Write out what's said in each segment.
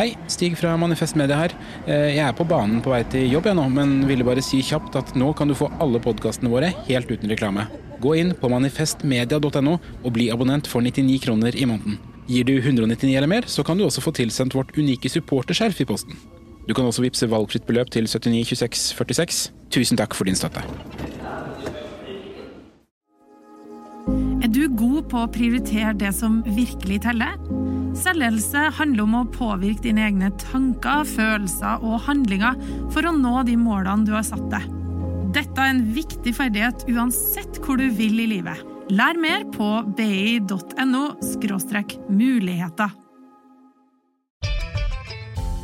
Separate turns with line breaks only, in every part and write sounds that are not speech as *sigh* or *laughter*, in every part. Hei, Stig fra Manifest Media her. Eh, Jeg er på banen på vei til jobb jeg nå, men ville bare si kjapt at nå kan du få alle podkastene våre helt uten reklame. Gå inn på manifestmedia.no og bli abonnent for 99 kroner i måneden. Gir du 199 eller mer, så kan du også få tilsendt vårt unike supporterskjerf i posten. Du kan også vippse valgfritt beløp til 792646. Tusen takk for din støtte.
Er du god på å prioritere det som virkelig teller? Selvledelse handler om å påvirke dine egne tanker, følelser og handlinger for å nå de målene du har satt deg. Dette er en viktig ferdighet uansett hvor du vil i livet. Lær mer på bi.no muligheter.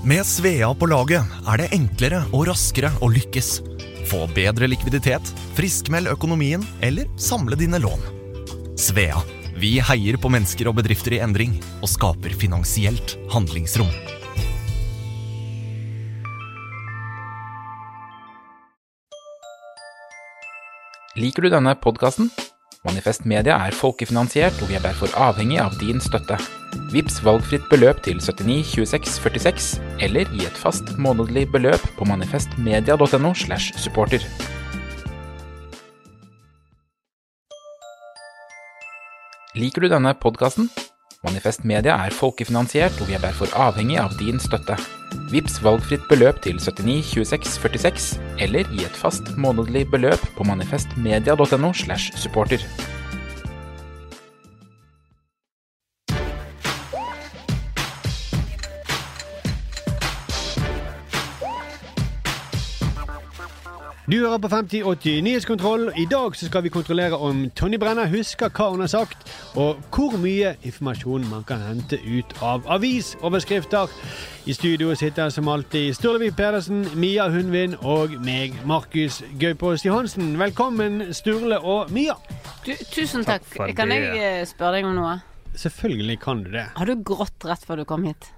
Med Svea på laget er det enklere og raskere å lykkes. Få bedre likviditet, friskmeld økonomien eller samle dine lån. Svea vi heier på mennesker og bedrifter i endring og skaper finansielt handlingsrom.
Liker du denne podkasten? Manifest Media er folkefinansiert, og vi er derfor avhengig av din støtte. Vips valgfritt beløp til 79 26 46, eller gi et fast månedlig beløp på manifestmedia.no. slash supporter. Liker du denne podkasten? Manifest Media er folkefinansiert, og vi er derfor avhengig av din støtte. Vips valgfritt beløp til 79 26 46, eller gi et fast månedlig beløp på manifestmedia.no. slash supporter.
Du hører på 5080 Nyhetskontroll. I dag så skal vi kontrollere om Tonje Brenna husker hva hun har sagt, og hvor mye informasjon man kan hente ut av avisoverskrifter. I studio sitter som alltid Sturlevik Pedersen, Mia Hundvin og meg, Markus Gaupås Johansen. Velkommen, Sturle og Mia.
Du, tusen takk.
for
Kan
det.
jeg eh, spørre deg om noe?
Selvfølgelig kan du det.
Har du grått rett før du kom hit?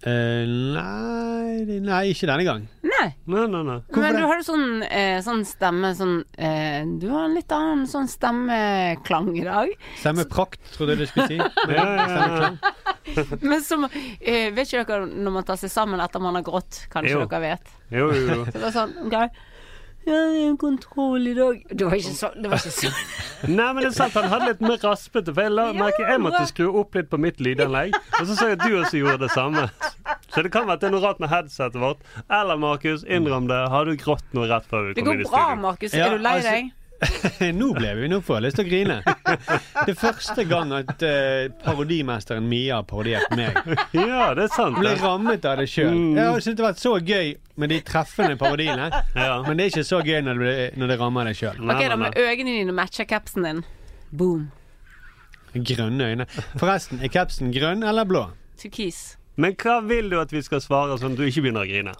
Eh, nei, det- nei, ikke denne gang.
Nei.
Nei, nei, nei.
men du har jo sånn, eh, sånn stemme sånn, eh, Du har en litt annen sånn stemmeklang i dag.
Stemmeprakt, trodde jeg du skulle si. Men stemmeklang.
Men som eh, Vet ikke dere når man tar seg sammen etter man har grått? Kanskje
Jo.
dere vet.
Jo, jo, jo.
Så det var sånn ok. Ja, det er kontroll i dag. Det var ikke sånn. Det var ikke sånn.
Nei, men det er sant, han hadde litt mer raspete, for jeg la merke jeg måtte skru opp litt på mitt lydanlegg. Og så så jeg at du også gjorde det samme. Så det kan være at det er noe rart med headsetet vårt. Eller Markus, innrøm det. Har du grått noe rett før vi
Det
kom
går
inn i
bra,
studio?
Markus.
Ja,
er du lei
altså-
deg?
Nå ble vi, nå får jeg lyst til å grine. Det er første gang at eh, parodimesteren Mia har parodiert meg.
Ja, det er sant.
Jeg ble
det.
rammet av det sjøl. Jeg har syntes det har vært så gøy med de treffende parodiene,
Ja.
men det er ikke så gøy når det, blir- når det rammer deg sjøl.
Nei,
Ok, da
nei,
med
nei.
øynene dine matcher capsen din. Boom.
Grønne øyne. Forresten, er capsen grønn eller blå?
Turkis.
Men hva vil du at vi skal svare sånn at du ikke begynner å grine?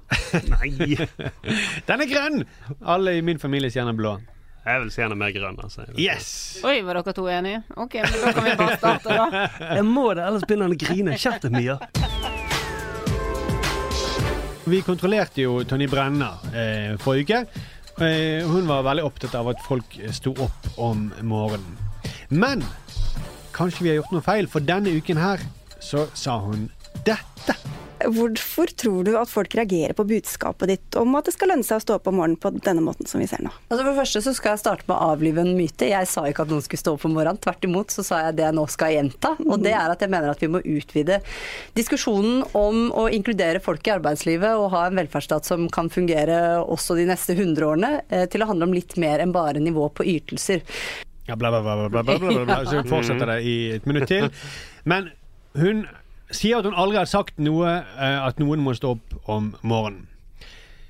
Nei.
Den er grønn! Alle i min familie sier den er blå.
Jeg vil se henne mer grønn, altså.
Yes!
Oi, var dere to enige? Ok, men da kan vi bare starte, da.
Jeg må det, ellers begynner han å grine. Kjeft deg, Mia.
Vi kontrollerte jo Tonje Brenna eh, forrige uke. Eh, hun var veldig opptatt av at folk eh, sto opp om morgenen. Men kanskje vi har gjort noe feil, for denne uken her så sa hun dette.
Hvorfor tror du at folk reagerer på budskapet ditt om at det skal lønne seg å stå opp om morgenen på denne måten som vi ser nå?
Altså For det første så skal jeg starte med å avlive en myte. Jeg sa ikke at noen skulle stå opp om morgenen. Tvert imot så sa jeg det jeg nå skal gjenta. Og det er at jeg mener at vi må utvide diskusjonen om å inkludere folk i arbeidslivet og ha en velferdsstat som kan fungere også de neste 100 årene, eh, til å handle om litt mer enn bare nivå på ytelser.
Ja, bla, bla, bla, bla, bla, bla, bla, bla. Så hun fortsetter det i et minutt til. Men hun sier at hun aldri har sagt noe eh, at noen må stå opp om morgenen.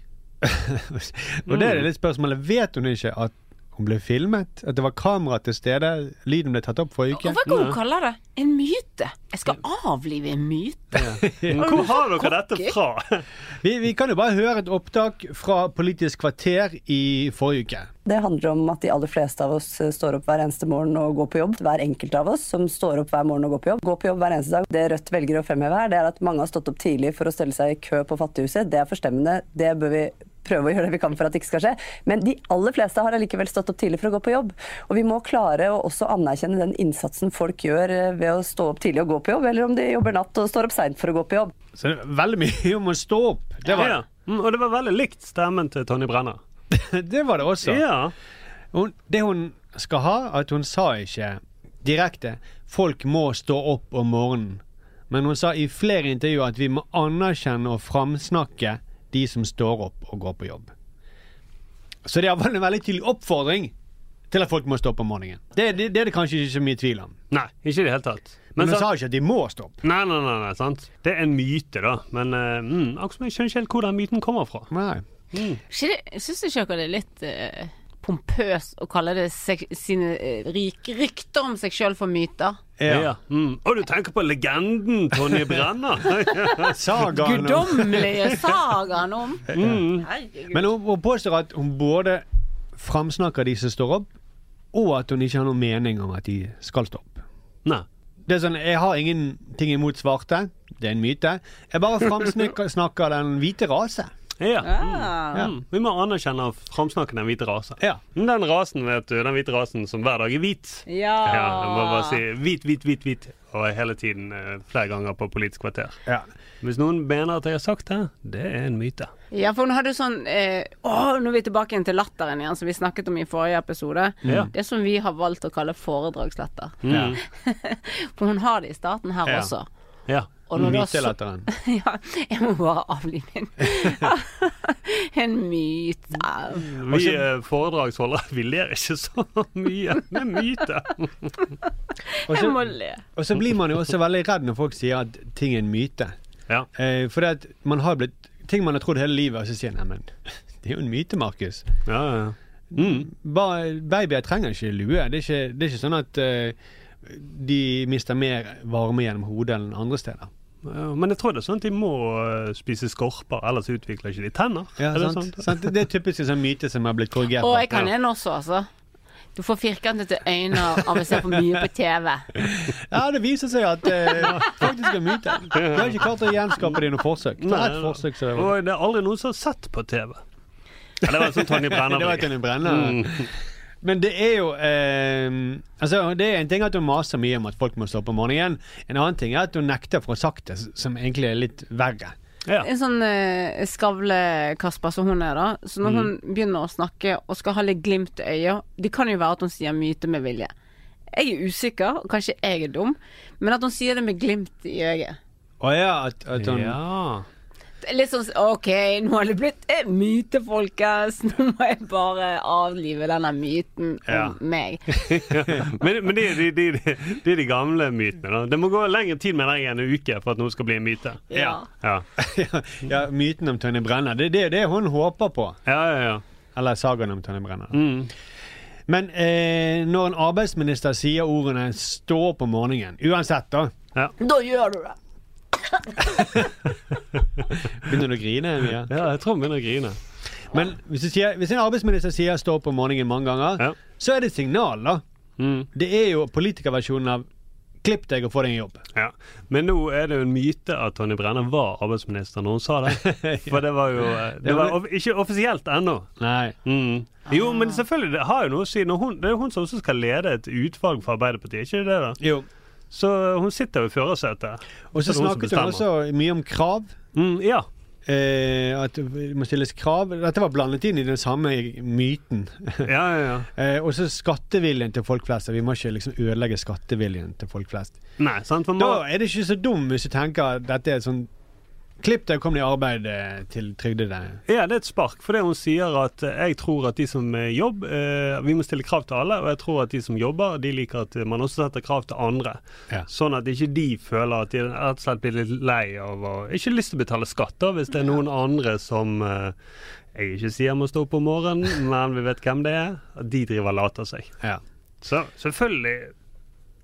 *laughs* Og det
Mm.
er litt spørsmålet. Vet hun ikke at hun ble filmet? At det var kamera til stede? Lyden ble tatt opp forrige uke?
Hvorfor kan hun kalle det en myte? Jeg skal avlive en myte.
Hvor har dere dette fra?
Vi, vi kan jo bare høre et opptak fra Politisk kvarter i forrige uke.
Det handler om at de aller fleste av oss eh, står opp hver eneste morgen og går på jobb. Hver enkelt av oss som står opp hver morgen og går på jobb. Går på jobb hver eneste dag. Det Rødt velger å fremheve her, det er at mange har stått opp tidlig for å stelle seg i kø på Fattighuset. Det er forstemmende. Det bør vi prøve å gjøre det vi kan for at det ikke skal skje. Men de aller fleste har allikevel stått opp tidlig for å gå på jobb. Og vi må klare å også anerkjenne den innsatsen folk gjør eh, ved å stå opp tidlig og gå på jobb, eller om de jobber natt og står opp seint for å gå på jobb.
Så det er veldig mye om å stå opp. Det var *laughs*
Ja. Mm, og det var veldig likt stemmen til Tonje Brenna.
det, var det også.
Ja.
Hun, det hun skal ha, at hun sa ikke direkte 'folk må stå opp om morgenen'. Men hun sa i flere intervjuer at vi må anerkjenne og framsnakke de som står opp og går på jobb. Så det er vel en veldig tydelig oppfordring til at folk må stå opp om morgenen. Det, det, det er det kanskje ikke så mye tvil om.
Nei, ikke i det hele tatt.
Men hun
så-
sa ikke at de må stå opp.
Nei, nei, nei, nei, sant. Det er en myte, da. Men eh, mm, akkurat som jeg skjønner ikke helt hvor den myten kommer fra.
Nei.
Syns ikke dere det er litt eh, pompøst å kalle det seg, sine eh, rik, rykter om seg sjøl for myter?
Ja.
Mm. Og du tenker på legenden
*laughs*
Tonje Brenna!
Sagaen om-
Guddommelige sagaen om
mm.
Herregud.
Men hun, hun påstår at hun både framsnakker de som står opp, og at hun ikke har noen mening om at de skal stå opp.
Nei.
Det er sånn, Jeg har ingenting imot svarte. Det er en myte. Jeg bare framsnakker snakker den hvite rase.
Ja.
Ah.
Mm. Vi må anerkjenne og framsnakke den hvite rasen.
Ja.
Men Den rasen, vet du, den hvite rasen som hver dag er hvit.
Ja.
Ja, jeg må bare si hvit, hvit, hvit, hvit. Og hele tiden eh, flere ganger på Politisk kvarter.
Ja.
Hvis noen mener at jeg har sagt det, det er en myte.
Ja, for hun hadde sånn eh, Å, nå er vi tilbake igjen til latteren igjen, som vi snakket om i forrige episode.
Ja.
Det som vi har valgt å kalle foredragslatter.
Mm.
*laughs* For hun har det i staten her
Ja.
også.
Ja.
Og når du har så-
Mytelatteren.
*laughs* Ja, jeg må bare avlive den. *laughs* en myte.
Vi eh, foredragsholdere, *laughs* vi ler ikke så mye. Det er myte.
Og
*laughs* Jeg må
så-
le.
og så blir man jo også veldig redd når folk sier at ting er en myte.
Ja.
Eh, for det at man har blitt ting man har trodd hele livet, og så sier man men *laughs* det er jo en myte, Markus.
Ja, ja, ja. Mm.
Bare, babyer trenger ikke lue. Det er ikke, det er ikke sånn at eh, de mister mer varme gjennom hodet enn andre steder.
Ja, Men jeg tror det er sånn at de må eh, spise skorper, ellers utvikler ikke de tenner.
Ja,
Er det
sant?
sånn?
Sant? Det er typisk en sånn myte som har blitt korrigert.
Og jeg kan
ja.
en også, altså. Du får firkantete øyne av å se for mye på TV.
ja, det viser seg at eh, faktisk er myte. Du har ikke klart å gjenskape det i noe forsøk. Det er et forsøk så det var
Og det er aldri noen som har sett på TV. Ja, det var sånn Tonje Brenna.
*laughs* Det var ikke en brenner.
Mm.
Men det er jo eh, altså, Det er en ting at hun maser mye om at folk må stå opp om morgenen. En annen ting er at hun nekter for å ha sagt det, som egentlig er litt verre.
Ja.
En sånn eh, skavle-Kasper som hun er, da. Så når hun begynner å snakke og skal ha litt glimt i øyet Det kan jo være at hun sier myte med vilje. Jeg er usikker, og kanskje jeg er dum, men at hun sier det med glimt i øyet.
Å ja, at, at hun
Ja.
Det er Litt sånn OK, nå har det blitt eh, myte, folkens. *laughs* Nå må jeg bare avlive denne myten
Ja.
om meg.
Men, men det, er de- de- de- det er de gamle mytene. Da. Det må gå lengre tid med deg enn en uke for at noe skal bli en myte.
Ja.
Ja,
*laughs* ja, Myten om Tonje Brenner. Det, det er det hun håper på.
ja, ja. ja.
Eller sagaen om Tonje Brenner.
Mm.
Men eh, når en arbeidsminister sier ordene 'stå opp om morgenen', uansett, da
Da gjør du det.
Begynner du å grine? Mia?
ja, jeg tror hun begynner å grine.
Men hvis, du sier, hvis en arbeidsminister sier 'stå opp om morgenen' mange ganger,
Ja.
så er det et signal, da.
Mm.
Det er jo politikerversjonen av 'klipp deg og få deg en jobb'.
Ja. Men nå er det jo en myte at Tonje Brenna var arbeidsminister når hun sa det. *laughs* For det var jo eh, Det var off- ikke offisielt ennå.
Nei.
Mm. Jo, men selvfølgelig, det har jo noe å si. Når hun, det er jo hun som også skal lede et utvalg for Arbeiderpartiet, ikke det? da?
Jo.
Så eh, hun sitter jo i førersetet.
Og så
Så det er hun som
snakket hun også mye om krav.
Mm, ja.
Eh, at det må stilles krav. Dette var blandet inn i den samme *laughs* myten.
Ja, ja, ja.
Eh, og så skatteviljen til folk flest. at Vi må ikke liksom ødelegge skatteviljen til folk flest.
Nei, sant? For
Da
må,
er det ikke så dum hvis du tenker at dette er sånn Klipp deg og kom deg i arbeid eh, til trygdede.
ja, det er et spark. Fordi hun sier at eh, jeg tror at de som eh, jobb, eh, vi må stille krav til alle. Og jeg tror at de som jobber, de liker at eh, man også setter krav til andre.
Ja.
Sånn at ikke de føler at de rett og slett blir litt lei av å Ikke lyst til å betale skatt, da, hvis det er noen andre som eh, jeg ikke sier må stå opp om morgenen, men vi vet hvem det er. At de driver og later seg.
Ja.
Så selvfølgelig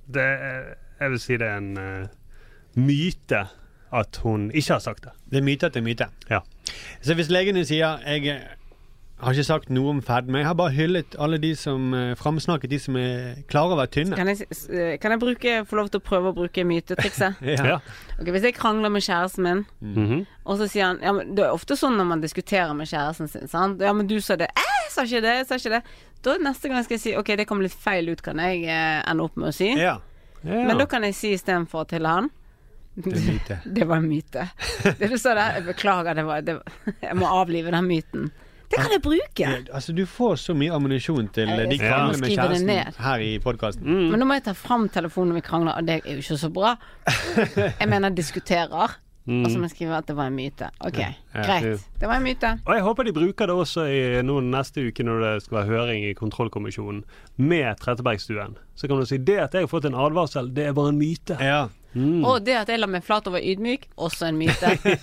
det er, Jeg vil si det er en eh, myte at hun ikke har sagt det.
Det er myte at det er myte.
Ja.
Så hvis legene sier jeg, eh, har ikke sagt noe om fedme. Jeg har bare hyllet alle de som eh, framsnakket de som er klare å være tynne.
*laughs* Kan jeg, s- eh, kan jeg bruke, få lov til å prøve å bruke mytetrikset?
*laughs* Ja.
Ok, hvis jeg krangler med kjæresten min,
Mhm.
og så sier han ja, men Det er ofte sånn når man diskuterer med kjæresten sin. Sant? Ja, men du sa det. Eh, jeg sa ikke det. Jeg sa ikke det. Da neste gang skal jeg si OK, det kom litt feil ut, kan jeg eh, ende opp med å si.
Ja.
Ja.
Men da kan jeg si istedenfor til han
Det er myte.
Det var en
*laughs*
myte. Det du sa der, jeg beklager, det var, det var *laughs* Jeg må avlive den myten. Det kan jeg bruke.
Ja, Altså, du får så mye ammunisjon til eh, de
Jeg
krangler
skal
med
skrive det ned. Mm.
kjæresten her i podkasten.
Mm.
Men nå må jeg ta fram telefonen når vi krangler, og det er jo ikke så
*laughs*
bra. Jeg mener diskuterer, og så må jeg skrive at det var en myte. Ok,
Mm. ja.
greit. Det var en myte.
Og jeg håper de bruker det også i noen neste uke når det skal være høring i kontrollkommisjonen med Trettebergstuen. Så kan du si det at jeg har fått en advarsel, det er bare en myte.
Ja.
Mm.
Og det at jeg la meg flat og var ydmyk, også en
*laughs*
myte.
Det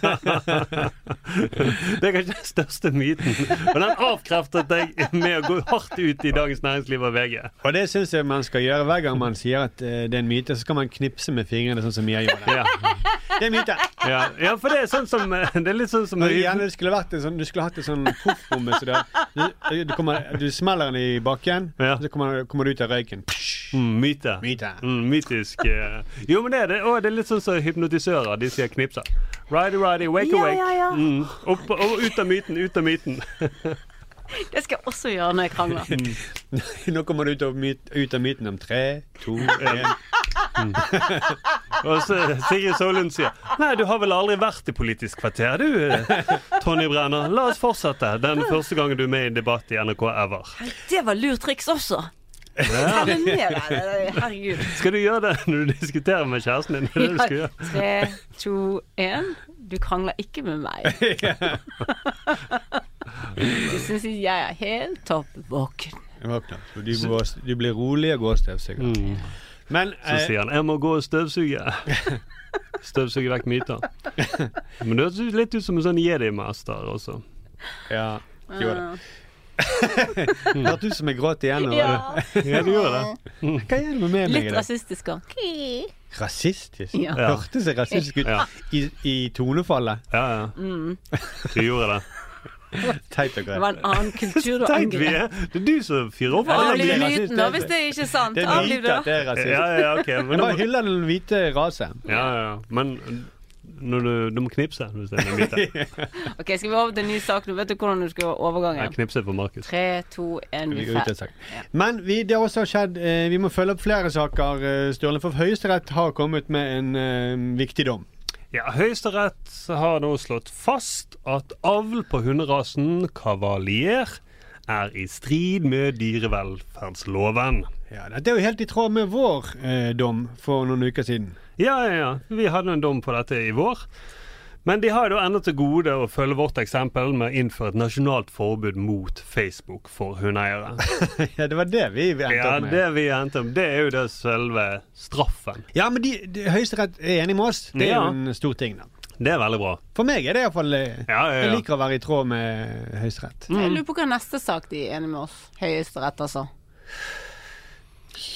er kanskje den største myten. Og den avkreftet jeg med å gå hardt ut i Dagens Næringsliv og VG.
Og det syns jeg man skal gjøre hver gang man sier at eh, det er en myte. Så skal man knipse med fingrene, sånn som Mia gjorde.
Ja,
Det er myte!
ja. ja for det er, sånn som, det er litt sånn som
Men Gjerne det skulle vært en sånn, du skulle hatt en sånn proffbomme. Så du, du, kommer- du smeller den i bakken,
Ja.
så kommer, kommer du ut av røyken.
Mm, myte.
Myte.
Mm, mytisk. eh. Jo, men det er det. Og det er litt sånn som hypnotisører. De sier knipser. Righty, righty, wake
Ja,
awake.
ja, ja.
Mm, opp, og ut av myten, ut av myten.
Det skal jeg også gjøre når jeg krangler.
Mm.
*laughs* Nå kommer du ut av, myt, ut av myten om tre,
*laughs*
to, én.
Og så Sigrid Solund sier Nei, du har vel aldri vært i Politisk kvarter, du, eh, Tonje Brenner. La oss fortsette. Den første gangen du er med i debatt i NRK ever.
Det var lurt triks også. Ta det med deg. Herregud.
Skal du gjøre det når du diskuterer med kjæresten din? *laughs* Det er det du skal gjøre.
Tre, to, én. Du krangler ikke med meg.
*laughs*
Du syns jeg er helt topp våken.
Våkner. Så Du, må- du blir rolig og går støvsuger. Men
Mm. Så
eh,
sier han 'jeg må gå og støvsuge'. *laughs* Støvsuge vekk
*laughs*
myter. Men du høres litt ut som en sånn jedi-mester også.
ja, gjorde *laughs* det. Hørtes ut som jeg gråt igjen. nå,
Ah. Ja.
var det? Ja, du gjorde det. *laughs* Hva er det med meg
Litt
i dag?
rasistisk òg.
Rasistisk?
Ja.
Hørtes jeg rasistisk ut
Ja.
i, i tonefallet?
Ja, ja.
Mm.
Du gjorde det.
Teit og
Det var
greit.
en annen kultur å
*laughs* Tenk, vi
angre.
er Det er du som fyrer opp.
Ja, det
alle
blir
Avliv
blir-
rasist,
myten, da,
det.
hvis det er ikke er sant.
Det er
Avliv
myte
det,
at det er rasistisk.
Ja, ja, ok. Men
Jeg
da
bare hyller den hvite rasen.
Ja, ja, ja. Men når du, du må knipse hvis det er en
*laughs*
myte.
da. Ok, Skal vi over til en ny sak nå? Vet du hvordan du skal gjøre
Jeg
overgangen?
knipser for Markus.
Tre, to, én,
Vi
vi
går ut av
fer.
sak. Men vi, det har også skjedd eh, Vi må følge opp flere saker, eh, Sturle. For Høyesterett har kommet med en eh, viktig dom.
Ja, Høyesterett har nå slått fast at avl på hunderasen cavalier er i strid med dyrevelferdsloven.
Ja, Dette er jo helt i tråd med vår eh, dom for noen uker siden. *laughs*
Ja, ja, ja. Vi hadde en dom på dette i vår. Men de har jo ennå til gode å følge vårt eksempel med å innføre et nasjonalt forbud mot Facebook for *laughs* hundeeiere.
ja, det var det vi endte
Ja,
opp med.
det vi endte om, det er jo det selve straffen.
Ja, men de, de, Høyesterett er enig med oss. Det er
Ja.
jo en stor ting, da.
Det er veldig bra.
For meg er det iallfall eh,
Ja, ja, Mm.
Jeg
ja.
liker å være i tråd med eh, Høyesterett.
Jeg lurer på hva neste sak de er enig med oss. Høyesterett, altså.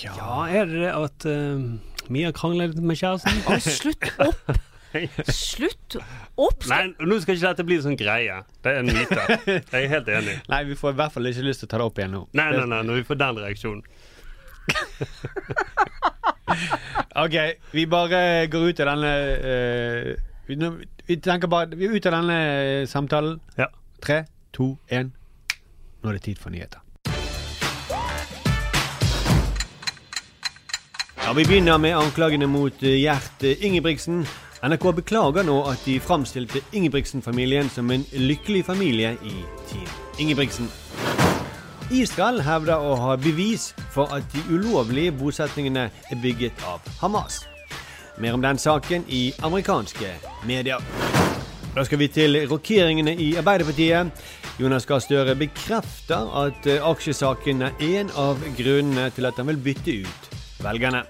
Ja, er det det at eh, Mia krangler litt med kjæresten?
Å, slutt opp!
*laughs*
Slutt opp!
Nei, nå skal ikke dette bli en sånn greie. Det er en myte. Jeg er helt enig.
Nei, vi får i hvert fall ikke lyst til å ta det opp igjen nå.
Nei, nei, nei, når vi får den reaksjonen.
*laughs* Ok, vi bare går ut av denne eh, vi, nå- vi tenker bare Vi er ute av denne eh, samtalen.
Ja.
Tre, to, én. Nå er det tid for nyheter. Ja, Vi begynner med anklagene mot eh, Gjert eh, Ingebrigtsen. NRK beklager nå at de framstilte Ingebrigtsen-familien som en lykkelig familie i Team Ingebrigtsen. Israel hevder å ha bevis for at de ulovlige bosetningene er bygget av Hamas. Mer om den saken i amerikanske medier. Da skal vi til rokkeringene i Arbeiderpartiet. Jonas Gahr Støre bekrefter at eh, aksjesaken er en av grunnene til at han vil bytte ut velgerne.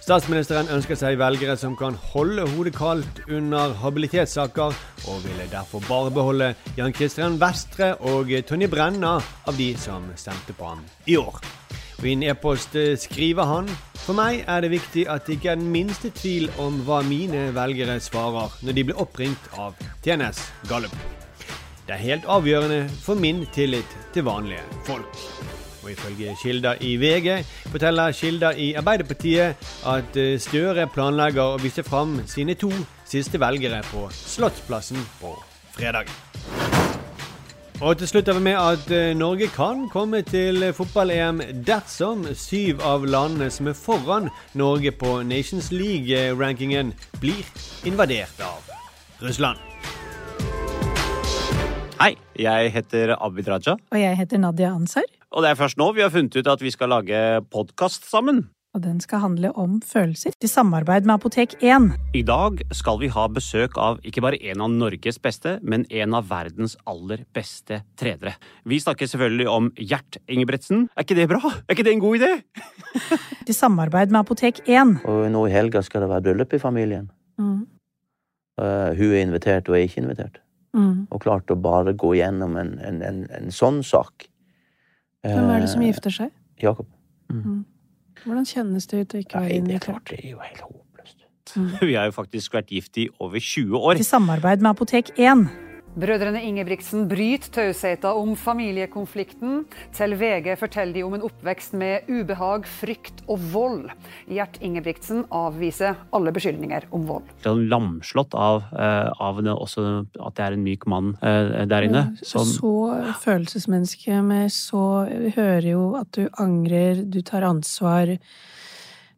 Statsministeren ønsker seg velgere som kan holde hodet kaldt under habilitetssaker, og ville derfor bare beholde Jan Christian Vestre og Tonje Brenna av de som stemte på ham i år. Og I en e-post eh, skriver han For meg er det viktig at det ikke er den minste tvil om hva mine velgere svarer når de blir oppringt av TNS Gallup. Det er helt avgjørende for min tillit til vanlige folk. Og ifølge kilder i VG forteller kilder i Arbeiderpartiet at eh, Støre planlegger å vise fram sine to siste velgere på Slottsplassen på fredag. Og til slutt er vi med at eh, Norge kan komme til fotball-EM dersom syv av landene som er foran Norge på Nations League-rankingen, blir invadert av Russland.
Hei, jeg heter Abid Raja,
Og jeg heter Nadia Ansar,
og det er først nå vi har funnet ut at vi skal lage podkast sammen.
og den skal handle om følelser i samarbeid med Apotek 1.
I dag skal vi ha besøk av ikke bare en av Norges beste, men en av verdens aller beste tredere. Vi snakker selvfølgelig om Gjert Ingebretsen. Er ikke det bra? Er ikke det en god idé?
I samarbeid med Apotek 1.
Og nå i helga skal det være bryllup i familien.
Mm.
Eh, hun er invitert, og jeg er ikke invitert.
Mm.
Og klart å bare gå gjennom en, en, en, en sånn sak. Eh,
Hvem er det som gifter seg? Mm.
Jakob.
Hvordan kjennes det ut å ikke være
Nei, det er
invitert?
klart, det er jo helt håpløst.
*laughs* Vi har jo faktisk vært gift i over 20 år.
I samarbeid med Apotek 1.
Brødrene Ingebrigtsen bryter tausheten om familiekonflikten. Til VG forteller de om en oppvekst med ubehag, frykt og vold. Gjert Ingebrigtsen avviser alle beskyldninger om vold.
Litt sånn lamslått av, eh, av det, også at det er en myk mann eh, der inne.
Så,
Som,
følelsesmenneske med så Vi hører jo at du angrer, du tar ansvar.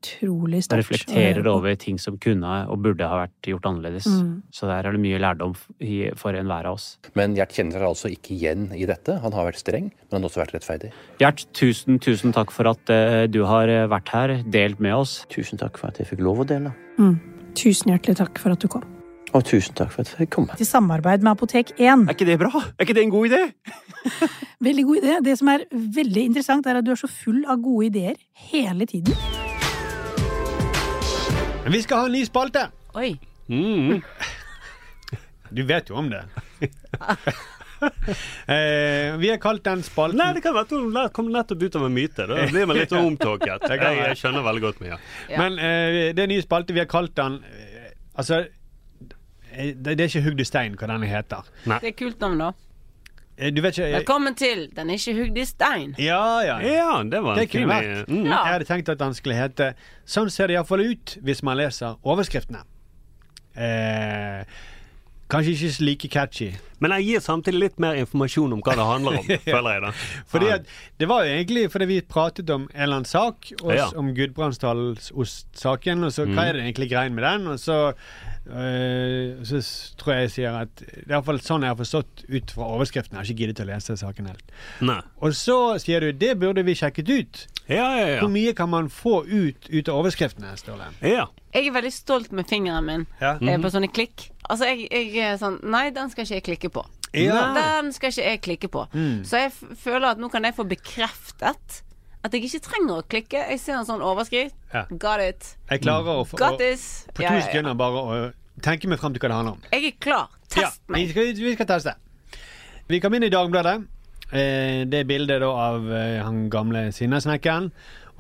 Utrolig
som
sterkt.
reflekterer over ting som kunne og burde ha vært gjort annerledes.
Mm.
Så der er det mye lærdom f- i- for enhver av oss.
Men Gjert kjenner seg altså ikke igjen i dette. Han har vært streng, men han har også vært rettferdig.
Gjert, tusen, tusen takk for at eh, du har eh, vært her, delt med oss.
Tusen takk for at jeg fikk lov å dele.
Mm. Tusen hjertelig takk for at du kom.
Og tusen takk for at jeg fikk komme.
I samarbeid med Apotek 1.
Er ikke det bra? Er ikke det en god idé?
*laughs* Veldig god idé. Det som er veldig interessant, er at du er så full av gode ideer hele tiden.
Men vi skal ha en ny spalte!
Oi.
Mm. Du vet jo om det. eh, vi har kalt den spalten
Nei, det kan være at hun la- kom nettopp ut av en myte. Da blir man litt omtåket.
Det
Jeg,
kan være.
jeg skjønner veldig godt mye.
Ja.
Men eh, det er en ny spalte. Vi har kalt den eh, Altså, eh, det, det er ikke Hugd i stein hva denne heter.
Det er kult navn, da.
Eh, Du vet ikke eh,
Velkommen til Den er ikke hugd i stein.
Ja, ja.
Ja, det var en
Det kunne
fin
vært.
mm.
Ja.
Jeg hadde tenkt at den skulle hete Sånn ser det iallfall ut hvis man leser overskriftene. Eh, kanskje ikke like catchy.
Men jeg gir samtidig litt mer informasjon om hva det handler *laughs* om, føler jeg da.
Fordi at, det var jo egentlig fordi vi pratet om en eller annen sak, og,
Ja. Mhm.
om Gudbrandsdalsost-saken, og så hva er det egentlig greien med den? Og så, øh, så s- tror jeg jeg sier at det er iallfall sånn jeg har forstått ut fra overskriften. Jeg har ikke giddet å lese saken helt.
Nei.
Og så sier du det burde vi sjekket ut.
Ja, ja, ja.
Hvor mye kan man få ut, ut av overskriftene, Ståle?
ja.
Jeg er veldig stolt med fingeren min
Ja.
eh, på sånne klikk. Altså, jeg, jeg er sånn Nei, den skal ikke jeg klikke på. Den skal ikke jeg klikke på.
Mm.
Så jeg f føler at nå kan jeg få bekreftet at jeg ikke trenger å klikke. Jeg ser en sånn overskrift.
Ja.
Got it.
Jeg klarer å, få-
Got
å
this.
på to sekunder bare å tenke meg fram til hva det handler om.
Jeg er klar. Test
Ja, vi
meg.
skal, vi skal teste. Vi kom inn i Dagbladet. Eh, det er bildet da av eh, han gamle sinnasnekkeren.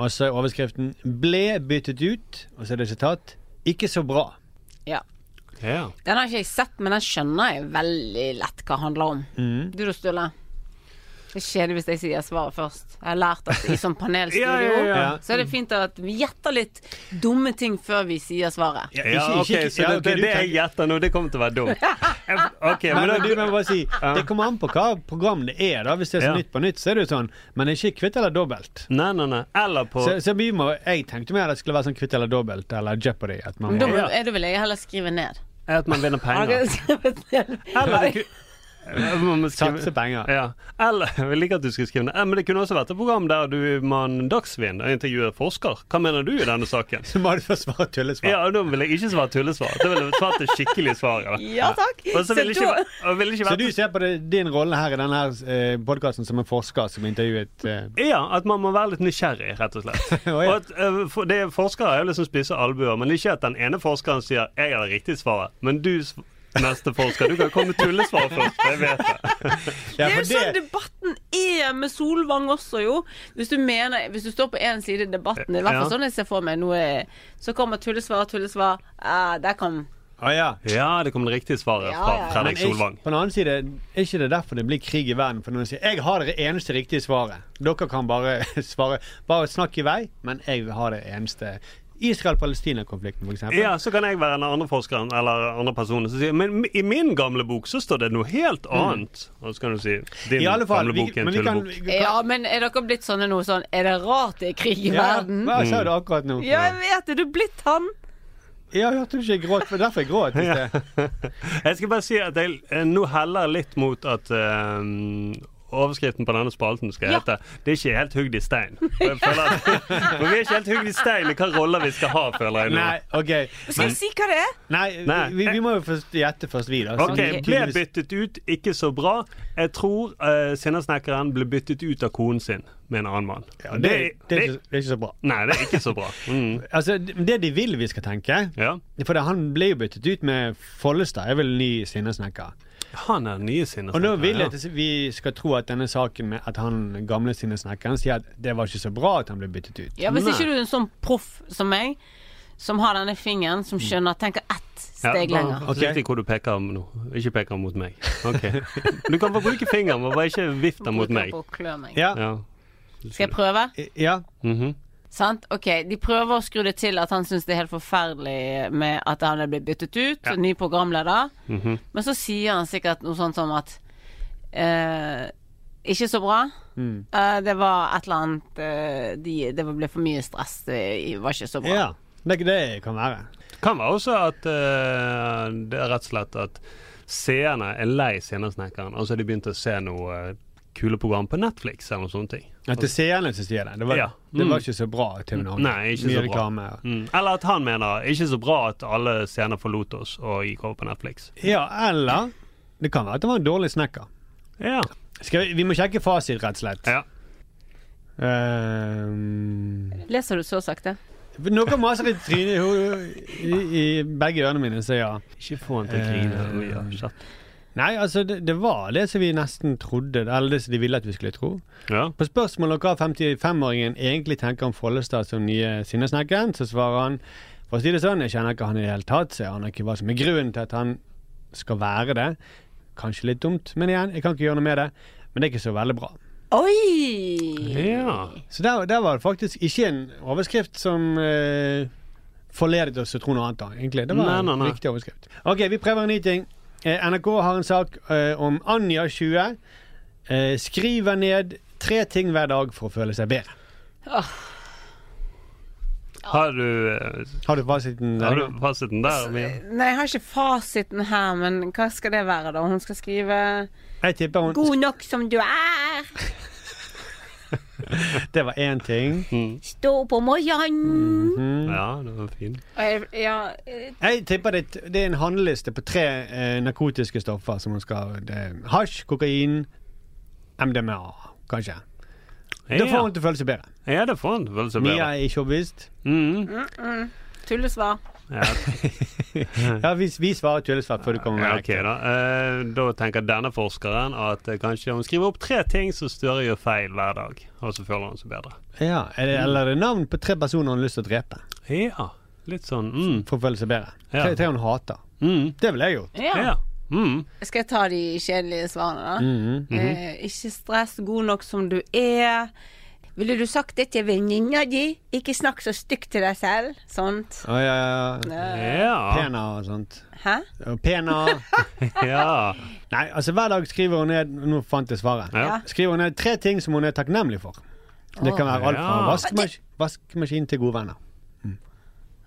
Og så er overskriften 'Ble byttet ut', og så er det sitat 'Ikke så bra'.
Ja.
ja.
Den har ikke jeg sett, men den skjønner jeg veldig lett hva handler om.
Mm.
Du da, Sturle? Det er kjedelig hvis jeg sier svaret først. Jeg har lært at i sånn panelstudio
Ja, ja, ja.
*laughs* Ja.
så er det fint at vi gjetter litt dumme ting før vi sier svaret.
Ja,
Ja, ok, så
ja,
det,
ok,
det,
du
det jeg
tenker-
gjetter nå, det kommer til å være *laughs* dumt. Ok,
Nei,
men da,
men du må bare si Det kommer an på hva program det er. da Hvis det er så
Ja.
Nytt på Nytt, så er det jo sånn. Men ikke Kvitt eller dobbelt.
Nei, nei, nei. Eller på
Så, så vi må, jeg tenkte mer at det skulle være sånn Kvitt eller dobbelt eller Jeopardy. At man
Men da
må,
må-
Ja.
er det vil jeg heller skrive ned.
at man vinner
Har
penger.
*laughs* dere skrevet ned?
Eller det ku- Man må skrive-
Satse penger.
Ja. Eller *laughs* Jeg liker at du skal skrive det. Eh, Men det kunne også vært et program der du man Dagsvin intervjuer forsker. Hva mener du i denne saken?
*laughs* så må du få svare tullesvar.
*laughs* Ja, og Da ville jeg ikke svart tullesvar. Da ville jeg svart det skikkelige svaret.
Ja takk.
Og så ville
Så da-
ikke, og ville ikke
Så
vært
du ser på det, din rolle her i denne her, eh, podkasten som en forsker som intervjuet eh,
Ja, at man må være litt nysgjerrig, rett og *laughs* slett.
Å,
Og
ja.
at, eh, for det, forskere er jo liksom spisse albuer, men ikke at den ene forskeren sier 'jeg har det riktige svaret', men du, s- neste forsker, du kan komme med tullesvar først. Jeg vet det.
Ja,
Det er
for
jo sånn debatten er med Solvang også, jo. Hvis du, mener, hvis du står på én side i debatten, i hvert fall
Ja.
sånn jeg ser for meg nå, eh, så kommer tullesvar, tullesvar. Ah, der kom
ja.
det kom det riktige svaret fra Fredrik Solvang.
På den annen side, er ikke det derfor det blir krig i verden? For noen sier 'jeg har det eneste riktige svaret'. Dere kan bare *laughs* svare Bare snakk i vei, men jeg har det eneste. Israel-Palestina-konflikten, f.eks.
Ja, så kan jeg være den andre forskeren eller andre personen som sier Men i min gamle bok så står det noe helt annet. Og så kan du si
Mm.
din
I alle fall,
gamle
vi-
bok er en
men vi kan- *laughs*
tullebok.
Ja, men er dere blitt sånne nå sånn Er det rart det er krig i
Ja,
verden?
hva sa du akkurat nå?
Ja, jeg vet det. Du er blitt han.
Ja, hørte du ikke jeg gråt? Det var derfor jeg gråt.
*laughs*
i sted.
Jeg skal bare si at jeg eh, nå heller litt mot at eh, Overskriften på denne spalten skal hete 'Det er ikke helt hugd i stein'. Og Jeg
*laughs*
føler at, *laughs* for vi er ikke helt hugd i stein i hva roller vi skal ha, føler jeg nå.
Nei, ok.
Skal jeg
Men-
Si hva det er.
Nei,
Nei.
Vi, vi må jo først gjette først, Altså, vi, da.
Ok, ble byttet ut, ikke så bra. Jeg tror uh, Sinnasnekkeren ble byttet ut av konen sin med en annen mann.
det- det er ikke- så bra.
Nei, det er ikke så *laughs* bra. Mm.
Altså, det de vil vi skal tenke For det, han ble jo byttet ut med Follestad. Jeg vil ny sinnesnekker.
Han er den nye
Og nå
sinnesnekkeren.
vil jeg at vi skal tro at denne saken med at han gamle sinnesnekkeren sier at det var ikke så bra at han ble byttet ut.
Ja, Hvis ikke du er en sånn proff som meg, som har denne fingeren, som skjønner Tenker ett steg lenger.
Ok. Riktig hvor du peker nå. Ikke peker mot *laughs* meg. Ok. Du kan bare bruke fingeren, men bare ikke vift den mot meg.
På å klø meg.
Ja.
Skal jeg prøve?
Ja.
Mhm.
Sant? Ok, De prøver å skru det til at han syns det er helt forferdelig med at han er blitt byttet ut. Ny programleder.
Mhm.
Men så sier han sikkert noe sånt som at eh, Ikke så bra.
Mm.
Eh, det var et eller annet eh, de, Det ble for mye stress. Det var ikke så bra.
Ja, det, det kan være.
Det kan være også at eh, det er rett og slett at seerne er lei Sinnasnekkeren. Altså de begynte å se noe eh, kule program på Netflix eller noe sånt.
At det er seerne som sier det. Det var,
Ja.
det
Mm.
var ikke så bra. TV Norge.
Nei, ikke
Mye
så bra.
reklame.
Mm. Eller at han mener ikke så bra at alle scener forlot oss og gikk over på Netflix.
Ja, eller Det kan være at det var en dårlig snekker. Skal vi, vi må sjekke fasit, rett og slett.
Ja.
Ehm,
Leser du så sakte?
Noe maser i altså trynet i, hodet- i, i begge ørene mine, så ja.
Ikke få han til å grine. Eh, Ja, kjapt.
Nei, altså det, det var det som vi nesten trodde, eller det som de ville at vi skulle tro.
Ja.
På spørsmålet om hva 55-åringen egentlig tenker om Follestad som nye sinnesnekkeren, så svarer han for å si det sånn, jeg kjenner ikke han i det hele tatt, så jeg aner ikke hva som er grunnen til at han skal være det. Kanskje litt dumt, men igjen, jeg kan ikke gjøre noe med det. Men det er ikke så veldig bra.
Oi!
Så der, der var det faktisk ikke en overskrift som eh, forledet oss til å tro noe annet, da, egentlig. Det var
Nei, nei, nei.
en viktig overskrift. Ok, vi prøver en ny ting. Eh, NRK har en sak eh, om Anja 20. Eh, skriver ned tre ting hver dag for å føle seg bedre.
Har du eh,
Har du fasiten?
Har du fasiten der? Mia?
Nei, jeg har ikke fasiten her, men hva skal det være, da? Hun skal skrive
Jeg tipper hun
'God nok som du er',
Det var én ting.
'Stå på morgenen'.
mm.
Ja, det var fin.
Og jeg- Ja, eh,
Jeg tipper det, det er en handleliste på tre eh, narkotiske stoffer som hun skal det, er Hasj, kokain, MDMA, kanskje.
Ja.
Da får hun til å føle seg bedre.
Ja, det får han vel så
Mia
bedre.
er ikke overbevist.
mm -mm. Tullesvar.
Ja.
Ja, vi, vi svarer tullesvar før du kommer med
Ja, ok Da Eh, Da tenker denne forskeren at eh, kanskje hun skriver opp tre ting som Støre gjør feil hver dag, og så føler han seg bedre.
Ja, er det, Eller er det navn på tre personer hun har lyst til å drepe?
Ja, litt sånn mm.
For å føle seg bedre.
Ja. Mm.
Tre, tre hun hater. Det ville jeg gjort.
Ja.
Ja. mm.
Skal jeg ta de kjedelige svarene, da?
Mhm. Mhm.
eh, ikke stress, god nok som du er. Ville du sagt det til venninna di? Ikke snakk så stygt til deg selv. Sånt.
Å, ja, ja.
Ja.
Pena og sånt.
Hæ?
Og Pena.
*laughs* ja.
Nei, altså hver dag skriver hun ned Nå fant jeg svaret.
Ja.
Skriver hun ned tre ting som hun er takknemlig for. Det kan være alt fra
Ja.
vaskemas vaskemaskin til gode venner.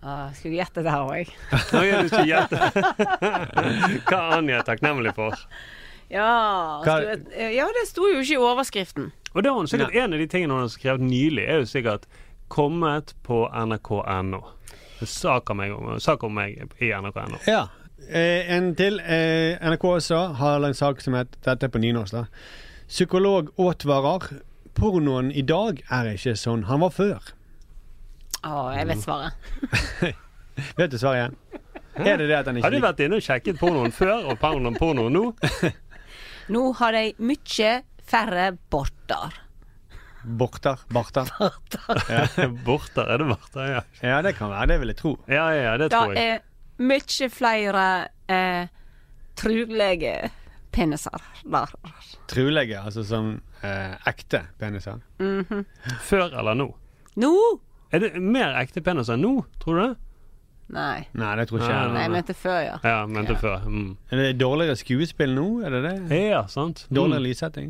Ah, skulle du gjette det her òg?
Nå gjør du ikke gjette *laughs* hva Anja er takknemlig for.
Ja,
Hva-
skulle jeg, ja, det sto jo ikke i overskriften.
Og det har hun sikkert En av de tingene hun har skrevet nylig, er jo sikkert 'kommet på nrk.no'. En Sak om meg, om- sak om meg i nrk.no.
Ja. Eh, en til. Eh, NRK også har en sak som heter Dette er på nynorsk, da. Psykolog advarer. Pornoen i dag er ikke sånn han var før.
Å, jeg vet svaret.
Vet du svaret igjen? Er det det at han ikke
Har du vært inne og sjekket pornoen før og pornoen porno *laughs* nå?
Nå har de mye færre *laughs* borter.
Borter. Barter.
Borter, er det borter? Ja.
ja, det kan være. Det vil jeg tro.
Ja, ja, det
Da
tror jeg.
er mye flere eh, truglege peniser der.
Trulegge, altså som eh, ekte peniser.
Mhm.
Før eller nå?
Nå?
Er det mer ekte penis enn nå, tror du det?
Nei.
Nei, det tror ikke
Nei,
jeg.
Nei, jeg mente før, ja.
Ja, mente før. Mm.
Er det dårligere skuespill nå, er det det?
Ja, sant.
Dårligere
Mm.
lyssetting?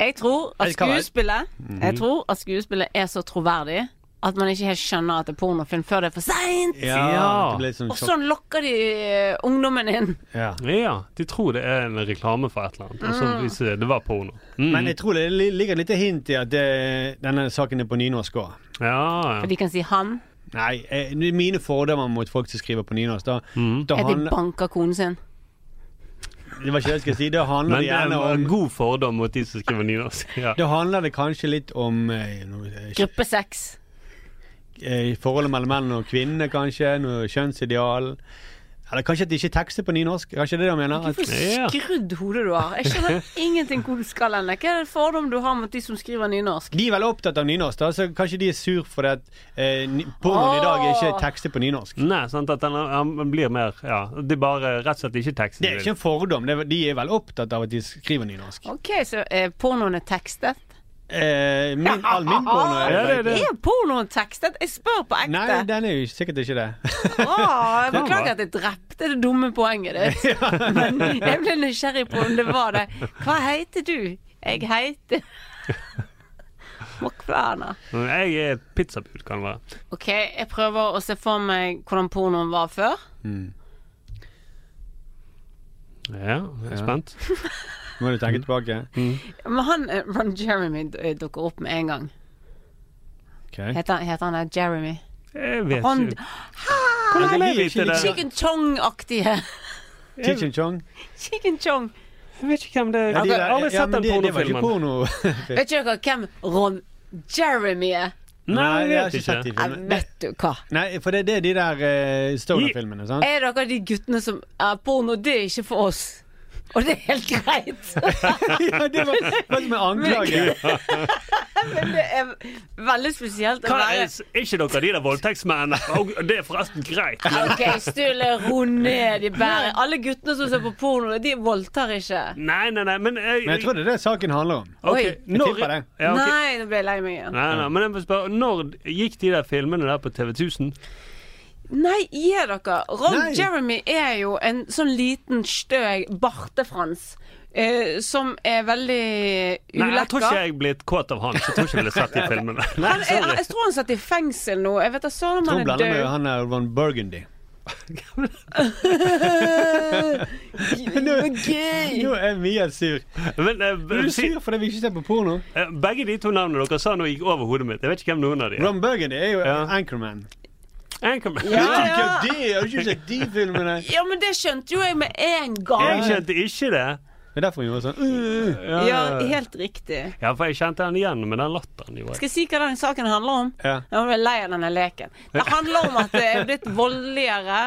Jeg tror at
Det kan være.
skuespillet
Mhm.
Jeg tror at skuespillet er så troverdig at man ikke helt skjønner at det er pornofilm før det er for seint.
Ja.
det ble litt sånn
Og sånn lokker de eh, ungdommen inn.
Ja.
De tror det er en reklame for et eller annet, og så
Mm.
viser det det var porno. Mm.
Men jeg tror det li- ligger et lite hint i at det, denne saken er på nynorsk òg.
Ja,
For de kan si 'han'.
Nei, eh, mine fordommer mot folk som skriver på nynorsk, da,
Mm.
da
Er de
handler-
banker konen sin?
Det var ikke det jeg skulle si. Det handler
Men det er
gjerne
en
om
god fordom mot de som skriver nynorsk. *laughs* Ja.
Da handler det kanskje litt om eh, noe, eh,
Gruppe sex.
eh, forholdet mellom menn og kvinner, kanskje. Noe kjønnsideal. Eller kanskje at de ikke tekster på nynorsk. Kanskje det er det de mener?
For skrudd hode du har. Jeg skjønner *laughs* ingenting hvor du skal hen. Hva er det fordom du har mot de som skriver nynorsk?
De er vel opptatt av nynorsk, da, så kanskje de er sur for at eh, ni- pornoen i dag er ikke
Ah.
tekstet på nynorsk.
Nei, sant, at den, han blir mer Ja, de bare rett og slett ikke teksten.
Det er ikke en fordom. det er- De er vel opptatt av at de skriver nynorsk.
OK, så eh, pornoen er tekstet?
Eh,
*laughs*
min, all min porno er
Er pornoen tekstet? Jeg spør på ekte.
Nei, den er jo sikkert ikke det. *laughs*
Åh, jeg
Det
beklager
var-
at jeg drepte det dumme poenget
*laughs*
ditt. *laughs* Men jeg ble nysgjerrig på om det var det. Hva heter du? Jeg heter *laughs* Mokvana.
Jeg er et pizzabud, kan det være.
OK, jeg prøver å se for meg hvordan pornoen var før.
Ja, jeg er spent.
Nå må du tenke tilbake.
Men han eh, Ron Jeremy d- eh, dukker opp med en gang. Heter, han- heter han der Jeremy?
Jeg vet
Ron-
ikke. Hvordan er vi til det?
*laughs* Chicken Chong-aktige. *laughs*
Chichen chong.
Chicken Chong.
Jeg vet ikke hvem det er.
Ja, de
Jeg
der-
har aldri
ja,
sett
men
den
det- det var ikke
pornofilmen.
porno. *laughs*
Vet dere hvem Ron Jeremy er?
Nei,
jeg
jeg
har
vet
ikke sett de
ikke.
filmene.
Vet du hva?
Nei, for det, det er de der eh, Stoner-filmene, sant?
Er dere de guttene som er porno? Det er ikke for oss. Og det er helt greit.
*laughs*
*laughs*
ja, det var, var som en anklage.
Men det er veldig spesielt å
Hva
være
er ikke dere de der
*laughs*
voldtektsmennene? Og Det er forresten greit. men-
OK, Sturle, ro ned i bæret. Alle guttene som ser på porno, de voldtar ikke.
Nei, nei, nei, men jeg,
Men jeg tror det er det saken handler om.
Ok,
Oi.
Jeg
når-
tipper det.
Ja, ok.
Nei, nå ble jeg lei meg igjen.
Nei, nei, men jeg må spørre, Når gikk de der filmene der på TV 1000?
Nei, gi dere. Ron
Nei.
Jeremy er jo en sånn liten, støg bartefrans. Eh, som er veldig ulekker.
Nei, Jeg tror ikke jeg er blitt kåt av han. Så jeg tror ikke jeg ville sett
*laughs*
de filmene. Nei,
Han er, jeg tror han satt i fengsel nå. Jeg vet da søren om
Tror hun
han er
blander med
død.
han der Ron Burgundy.
*laughs* Nå,
nå er Mia sur.
Men, eh,
Er du sur fordi vi ikke ser på porno?
Eh, Begge de to navnene dere sa nå gikk over hodet mitt. Jeg vet ikke hvem noen av de er.
Ron Burgundy er jo Anchorman.
Anchorman.
Ja, ja. Jeg har ikke sett de filmene.
Ja, men det skjønte jo jeg med en
*laughs*
gang.
Jeg kjente ikke det.
Det er derfor hun gjorde sånn. øh,
Ja,
Ja, helt riktig.
ja, for jeg kjente han igjen med den latteren. Jo.
Skal jeg si hva den saken handler om?
Ja.
Nå ble jeg lei av denne leken. Det handler om at det er blitt voldeligere,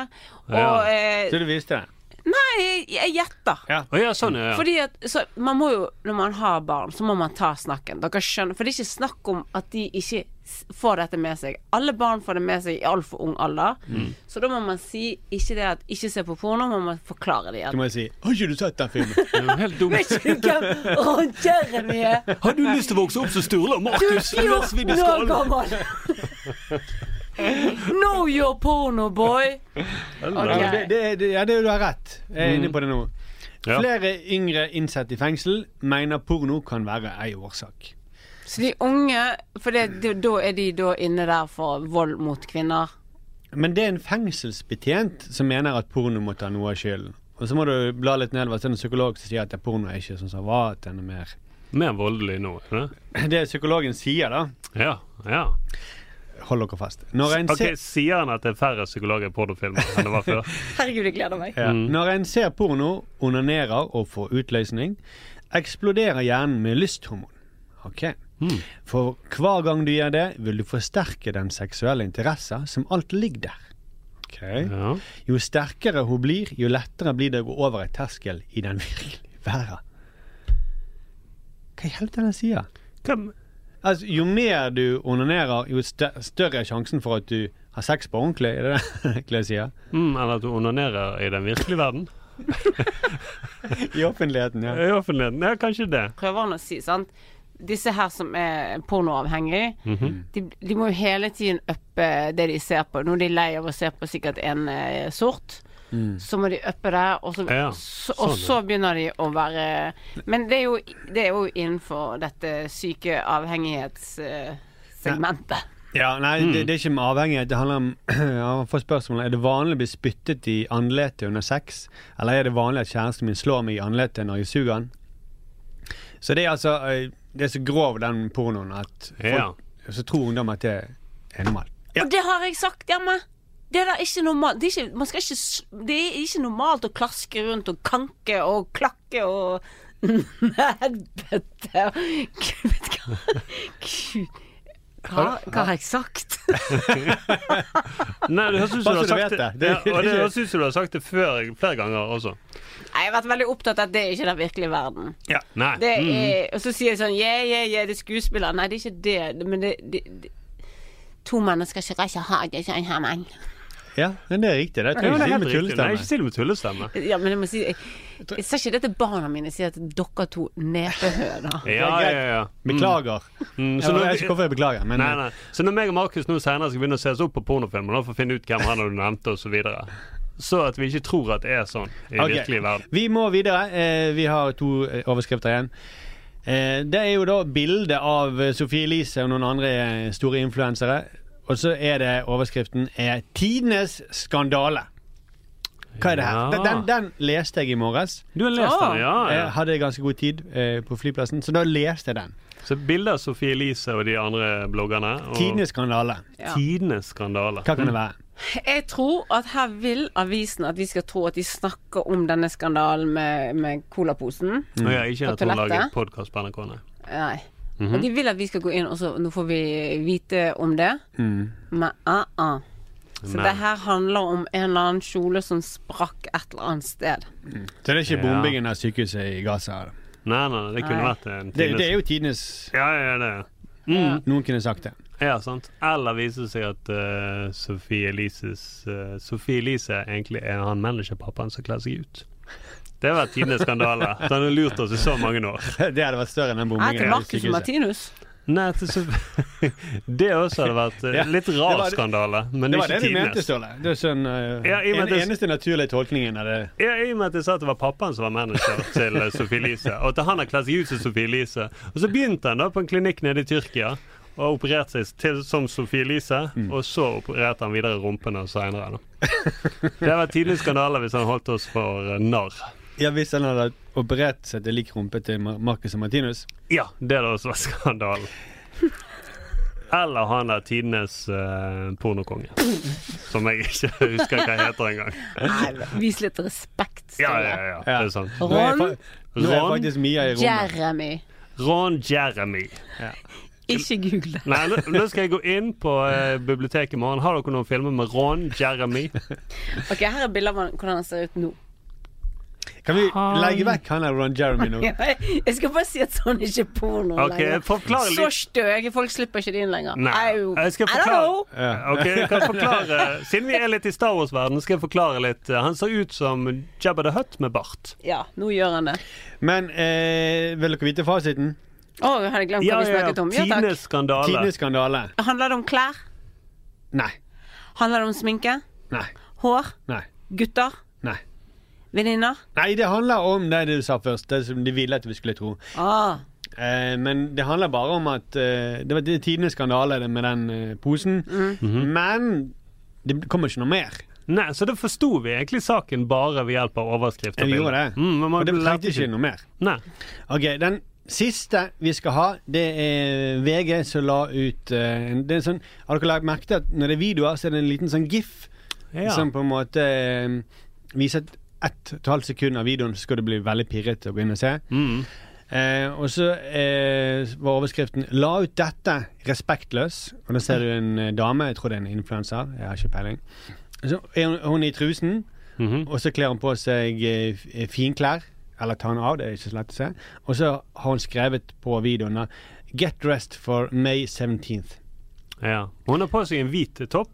og
Ja.
eh,
du viste det?
Nei, jeg- jeg gjetter.
Ja.
Å ja, sånn, ja. ja.
Fordi at, så man må jo, Når man har barn, så må man ta snakken. Dere skjønner, For det er ikke snakk om at de ikke s- får dette med seg. Alle barn får det med seg i altfor ung alder.
Mm.
Så da må man si ikke det at ikke se på porno, men man forklarer det
Du
igjen.
må jo si 'Har ikke du sett den *laughs* filmen?'
Helt dum.
Vet ikke hvem Ron Jeremy er!
Har du lyst til å vokse opp som Sturle og
Du er
Markus? Lars
14
Vidar Skålen?
år gammel! Know your porno, boy!
Ja, men det, det, det, ja, det, du har rett. Jeg er inne på det nå.
Ja.
Flere yngre innsatte i fengsel mener porno kan være ei årsak.
Så de unge For det, det, da er de da inne der for vold mot kvinner.
Men det er en fengselsbetjent som mener at porno må ta noe av skylden. Og så må du bla litt nedover til en psykolog som sier at porno er ikke sånn som var, at den er mer *clears throat*
Mer voldelig nå. ikke det?
Det psykologen sier, da
Ja, ja.
Hold dere fast. Når en,
Ok,
ser,
Sier han at det er færre psykologer i pornofilmer enn det var før?
*laughs*
Herregud, jeg gleder meg.
ja. Når en ser porno, onanerer og får utløsning, eksploderer hjernen med lysthormon. Ok. For hver gang du gjør det, vil du forsterke den seksuelle interessen som alt ligger der. Ok. Jo sterkere hun blir, jo lettere blir det å gå over en terskel i den *laughs* virkelige verden. Hva i helvete er det han sier?
Hvem?
Altså, jo mer du onanerer, jo st større er sjansen for at du har sex på ordentlig, er det det *laughs* Clay sier?
Mm, eller at du onanerer i den virkelige verden.
I offentligheten, ja.
I offentligheten, ja, kanskje det.
Prøver han å si, sant. Disse her som er pornoavhengige,
Mhm.
de, de må jo hele tiden uppe det de ser på. Nå er de lei av å se på sikkert en eh, sort.
Mm.
Så må de uppe det, og så,
Ja,
så, og
sånn,
så
ja.
begynner de å være Men det er jo, det er jo innenfor dette eh, syke avhengighetssegmentet.
Ja, nei,
Mm.
det, det er ikke med avhengighet. Det handler om *clears throat* ja, man får spørsmålet, Er det vanlig å bli spyttet i andletet under sex, eller er det vanlig at kjæresten min slår meg i andletet når jeg suger han? Så det er altså eh, Det er så grov, den pornoen, at folk, så tror ungdom at det er normalt.
Og det har jeg sagt hjemme. Det er da ikke normalt. Det er ikke, man skal ikke, s- det er ikke normalt å klaske rundt og kanke og klakke og *laughs* Helvete. Gud, vet du hva? Gud. Hva, hva har jeg sagt?
Nei, det høres ut som
Bare så
du har
du
sagt
vet
det.
det. Det- *laughs*
ja, og det høres ut som du har sagt det før, flere ganger også.
*laughs* Nei, Jeg har vært veldig opptatt av at det er ikke den virkelige verden.
Ja. Nei.
Det er,
Mhm.
og så sier jeg sånn Yeah, yeah, yeah, det er skuespiller. Nei, det er ikke det. Men det, det, det To mennesker skal ikke ha det sånn her, men.
Ja, men det er riktig. Det
Nei,
tror jeg
det
ikke
er
til
helt
med
riktig.
tullestemme.
Nei, ikke til og med tullestemme.
Ja, men jeg må si Jeg, jeg sa ikke det til barna mine. Jeg sier at dere to nepehøner.
Ja, ja, ja.
Beklager.
Mm,
Jeg vet ikke hvorfor jeg beklager, men- eh,
nei, nei. Så når meg og Markus nå senere skal begynne å se oss opp på pornofilmer da, for å finne ut hvem han og du nevnte, og så videre så at vi ikke tror at det er sånn i
Ok.
virkelig verden.
Vi må videre. Eh, vi har to eh, overskrifter igjen. Eh, det er jo da bilde av eh, Sophie Elise og noen andre eh, store influensere. Og så er det overskriften er 'Tidenes skandale'. Hva er det her?
Ja.
Den, den, den leste jeg i morges.
Du har lest den, ja, ja.
Jeg hadde ganske god tid eh, på flyplassen, så da leste jeg den.
Så bilder av Sophie Elise og de andre bloggerne. Og...
Tidenes skandale.
Ja.
Tidenes skandale.
Hva kan det være?
Jeg tror at her vil avisen at vi skal tro at de snakker om denne skandalen med, med colaposen.
Mm. Og jeg er ikke
På
at hun lager
toalettet.
podkast på NRK, nei.
Nei.
Mhm.
Og de vil at vi skal gå inn, og så nå får vi vite om det.
Mm.
Men ah, ah. Så
Men.
det her handler om en eller annen kjole som sprakk et eller annet sted.
Så det er ikke
Ja.
bombingen av sykehuset i Gaza? da.
Nei, nei, nei, det kunne
Nei.
vært en
Det, det er jo tidenes
Ja, ja, det er
Noen kunne sagt det. *laughs*
Ja, sant. Eller viser det seg at eh, Sophie Elises eh, Sophie Elise egentlig er han managerpappaen som kler seg ut. Det var tidenes skandale.
*laughs*
Så Han har lurt oss i så mange år.
Det hadde vært større enn den
Nei, til Marcus og
*laughs*
Martinus.
Nei, til Sof- *laughs* Det også hadde vært eh,
Ja,
litt
det
rar
var det-
skandale, men
det var
ikke
det du mente,
tidenes.
Ståle. Det er sånn, eh,
Ja, i og med
en,
at det-
eneste naturlige tolkningen av det.
Ja, I og med at jeg sa at det var pappaen som var manager til eh, Sophie Elise, og at han har kledd seg ut som Sophie Elise. Og så begynte han da på en klinikk nede i Tyrkia og opererte seg til som Sophie Elise, og så opererte han videre rumpene seinere. Det var tidenes skandale hvis han holdt oss for eh, narr.
Ja, Hvis han hadde operert seg til lik rumpe til Mar- Marcus og Martinus
Ja, det hadde også vært skandalen. Eller han der tidenes eh, pornokonge, som jeg ikke husker hva heter engang.
Vis litt respekt.
Ja, ja, ja, det er sant.
Nå er jeg fa-
nå er jeg faktisk Mia i rommet.
Jeremy.
Ron Jeremy.
Ikke google det.
Nei, nå, nå skal jeg gå inn på eh, biblioteket i morgen. Har dere noen filmer med Ron Jeremy?
Ok, her er bilder av han- hvordan han ser ut nå.
Kan vi
Han-
legge vekk han der Ron Jeremy nå?
*laughs* Ja, Jeg skal bare si at sånn er ikke porno
Ok, forklar
Så
litt.
støge folk slipper ikke det inn lenger.
Nei.
Au.
Jeg skal
I don't know.
forklare
Ja.
Ok, jeg kan forklare Siden vi er litt i Star Wars-verden, skal jeg forklare litt. Han ser ut som Jabba the Hutt med bart.
Ja, nå gjør han det.
Men eh, vil dere vite fasiten?
Å, jeg hadde glemt hva vi snakket om. Ja, takk.
Tidenes skandale.
Tidenes skandale.
Handler det om klær?
Nei.
Handler det om sminke?
Nei.
Hår?
Nei.
Gutter?
Nei.
Venninner?
Nei, det handler om det du sa først. Det som de ville at vi skulle tro.
Ah.
Eh, men det handler bare om at eh, det var det er tidenes skandale det med den eh, posen.
Mhm.
Men det kommer ikke noe mer.
Nei, så da forsto vi egentlig saken bare ved hjelp av overskrift.
Jeg gjorde det.
Mm, men man
og det
lærte
trengte ikke noe mer.
Nei.
Ok, Den siste vi skal ha, det er VG som la ut eh, en- det er sånn, Har dere lagt merke til at når det er videoer, så er det en liten sånn gif
Ja.
som på en måte eh, viser et ett og et halvt sekund av videoen, så skal du bli veldig pirret og gå inn og se.
Mm,
Eh, og så eh, var overskriften 'La ut dette respektløs'. Og da ser du en eh, dame, jeg tror det er en influenser, jeg har ikke peiling. Så er hun, hun er i trusen,
Mhm.
og så kler hun på seg eh, f- eh, finklær. Eller tar hun av, det er ikke så lett å se. Og så har hun skrevet på videoen da, 'Get dressed for May 17th'.
Ja. Hun har på seg en hvit topp,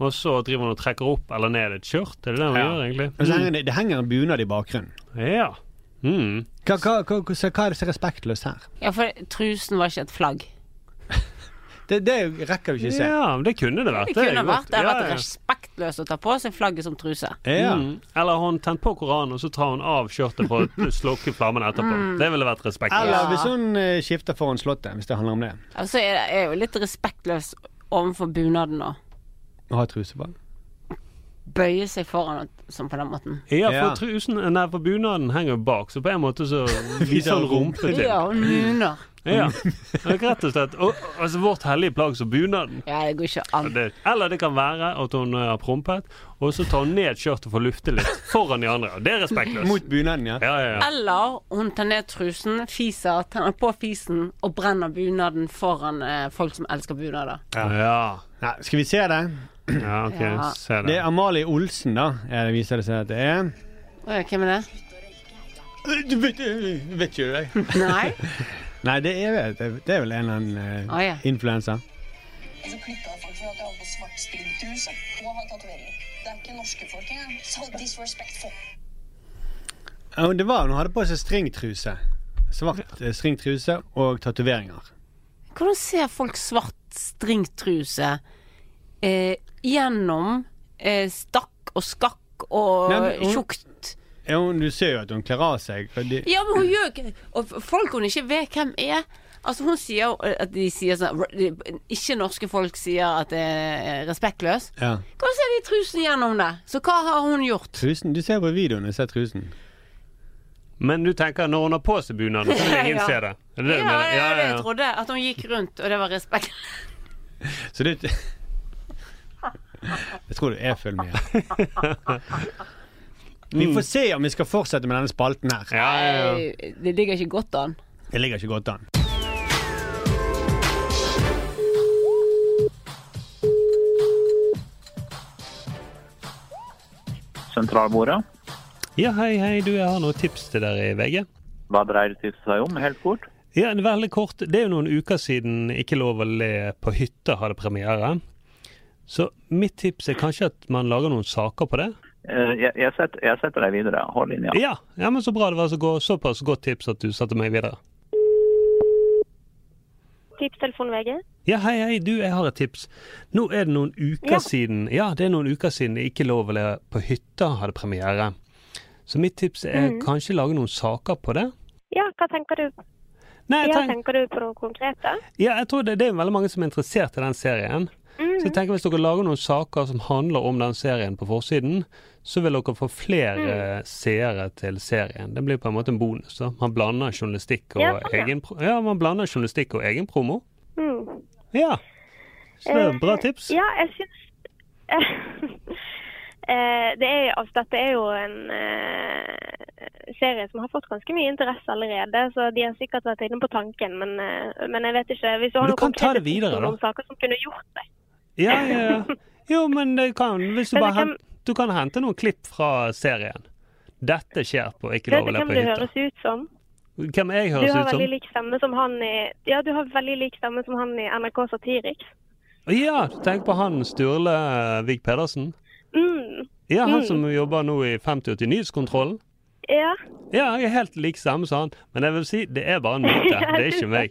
og så driver hun og trekker opp eller ned et skjørt. Er det det hun
Ja.
gjør, egentlig?
Og så henger det, det henger en bunad i bakgrunnen.
Ja. Mm.
Hva, hva, hva, så hva er det så respektløst her?
Ja, for trusen var ikke et flagg.
Det, det rekker du ikke se.
Ja, men det kunne det vært.
Det kunne vært det.
Ja,
Vært
ja.
respektløst å ta på seg flagget som truse.
Mm. Eller har hun tent på Koranen, og så tar hun av skjørtet for
*laughs*
å slukke flammene etterpå.
Mm.
Det ville vært
Eller
respektløst.
hvis hun eh, skifter foran Slottet, hvis det handler om det.
Altså, jeg jeg er jo litt respektløs overfor bunaden å
Å ha truse på.
bøye seg foran og- sånn på den måten.
Ja,
Ja.
for trusen Nei, for bunaden henger jo bak, så på en
*laughs*
måte så viser hun rumpe til.
Ja, og nuner.
Ja, rett og slett. Og, altså Vårt hellige plagg som bunaden.
Ja, det går ikke an.
Det, eller det kan være at hun eh, har prompet, og så tar hun ned skjørtet for å lufte litt foran de andre. Det er respektløst.
Mot bunaden, ja.
Ja, ja, ja.
Eller hun tar ned trusen, fiser, tenner på fisen og brenner bunaden foran eh, folk som elsker bunader.
Nei, skal vi se det?
Ja, ok,
Ja.
se det.
Det er Amalie Olsen, da. Ja, det viser det seg at det er.
Å ja, hvem er det?
Du vet, vet ikke det?
Nei?
*laughs* Nei, det er, vel- det er vel en eller annen
Å, ja.
uh, influenser.
Så klippet folk for at jeg hadde på svart spiritus og har tatoveringer. Det er ikke norske folk engang. So disrespectful.
Ja, men det var hun hadde på seg stringtruse. Svart eh, stringtruse og tatoveringer.
*laughs* Hvordan ser folk svart stringtruse eh, gjennom eh, stakk og skakk og
Nei, men hun-
tjukt?
Ja, hun- du ser jo at hun kler av seg. og de-
Ja, men hun gjør ikke Og folk hun ikke vet hvem er Altså hun sier jo at de sier sånn Ikke norske folk sier at det er respektløs
Ja.
Hva ser de trusen gjennom det? Så hva har hun gjort?
Trusen, Du ser på videoen, jeg ser trusen.
Men du tenker når hun har på seg bunaden, så vil
*laughs*
ingen
Ja.
se det. Er det det du
Ja,
mener?
det var det
ja.
jeg trodde At hun gikk rundt og det var
*laughs*
respektløst
Så det Jeg tror du er full med Vi får se om vi skal fortsette med denne spalten her.
Eh, Det ligger ikke godt an
Det ligger ikke godt an.
sentralbordet.
Ja, hei, hei, du, jeg har noen tips til dere i VG.
Hva dreier det seg om, helt kort?
Ja, en veldig kort. Det er jo noen uker siden Ikke lov å le på hytta hadde premiere. Så mitt tips er kanskje at man lager noen saker på det.
Eh, Jeg, jeg, setter, jeg setter deg videre. Hold linja.
Ja, ja men så bra det var så gå- såpass godt tips at du satte meg videre.
Tipstelefon VG.
Ja, hei, hei, du, jeg har et tips. Nå er det noen uker
Ja.
siden Ja, det er noen uker siden Ikke lov å le på hytta hadde premiere. Så mitt tips er
Mm.
kanskje lage noen saker på det.
Ja, hva tenker du?
Nei, jeg
ja,
tenk-
tenker du på noe konkret, da?
Ja, jeg tror det, det er veldig mange som er interessert i den serien. Så jeg tenker Hvis dere lager noen saker som handler om den serien på forsiden, så vil dere få
Mm.
flere seere til serien. Det blir på en måte en bonus. da. Man blander journalistikk og
Ja, sånn, ja.
egen pro- Ja, man blander journalistikk og egen promo.
Mm.
Ja. Så det er et bra tips.
Eh, Ja, jeg syns *laughs* Eh, det er, altså, dette er jo en eh, serie som har fått ganske mye interesse allerede, så de har sikkert vært inne på tanken, men, eh, men jeg vet ikke. Hvis du
Men
har
du
noen
kan ta det
konkrete
videre,
tips
da.
om saker som kunne gjort det.
Ja, ja, ja. Jo, men det kan, hvis du
Men
bare
det kan-
hent, du kan hente noen klipp fra serien. Dette skjer på Ikke
Vet
lov
du
å le
hvem
på
du
hytta.
høres ut som?
Hvem jeg
du
høres
har
ut
veldig
som?
lik stemme som han i Ja, du har veldig lik stemme som han i NRK Satiriks.
Ja, tenk på han Sturle Vig Pedersen.
Mm.
Ja, han
Mm.
som jobber nå i 5080 Nyhetskontrollen.
Ja.
Ja, jeg er helt lik samme som han, men jeg vil si det er
*laughs*
bare en myte. Det er ikke meg.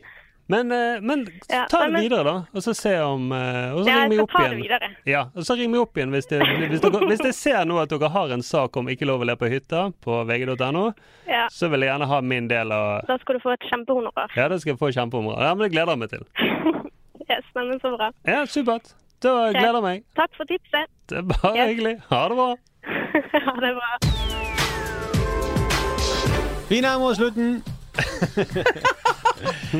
Men, eh, men
Ja,
ta
nei,
det
men-
videre, da. Og så se om eh, Og så
Ja,
ring
jeg
meg
skal
opp
ta det
igjen.
videre.
Ja, og så ring meg opp igjen hvis, det, hvis, dere, hvis jeg ser nå at dere har en sak om ikke lov å le på hytta på vg.no,
ja.
så vil jeg gjerne ha min del av
Da skal du få et kjempehonorar.
Ja, det skal jeg få kjempeområde. Ja, men det gleder jeg meg til.
*laughs* Yes, neimen så bra.
Ja, supert. Da gleder jeg meg.
Takk for tipset.
Det er bare hyggelig. Ha det bra.
ha det bra.
Vi nærmer oss slutten.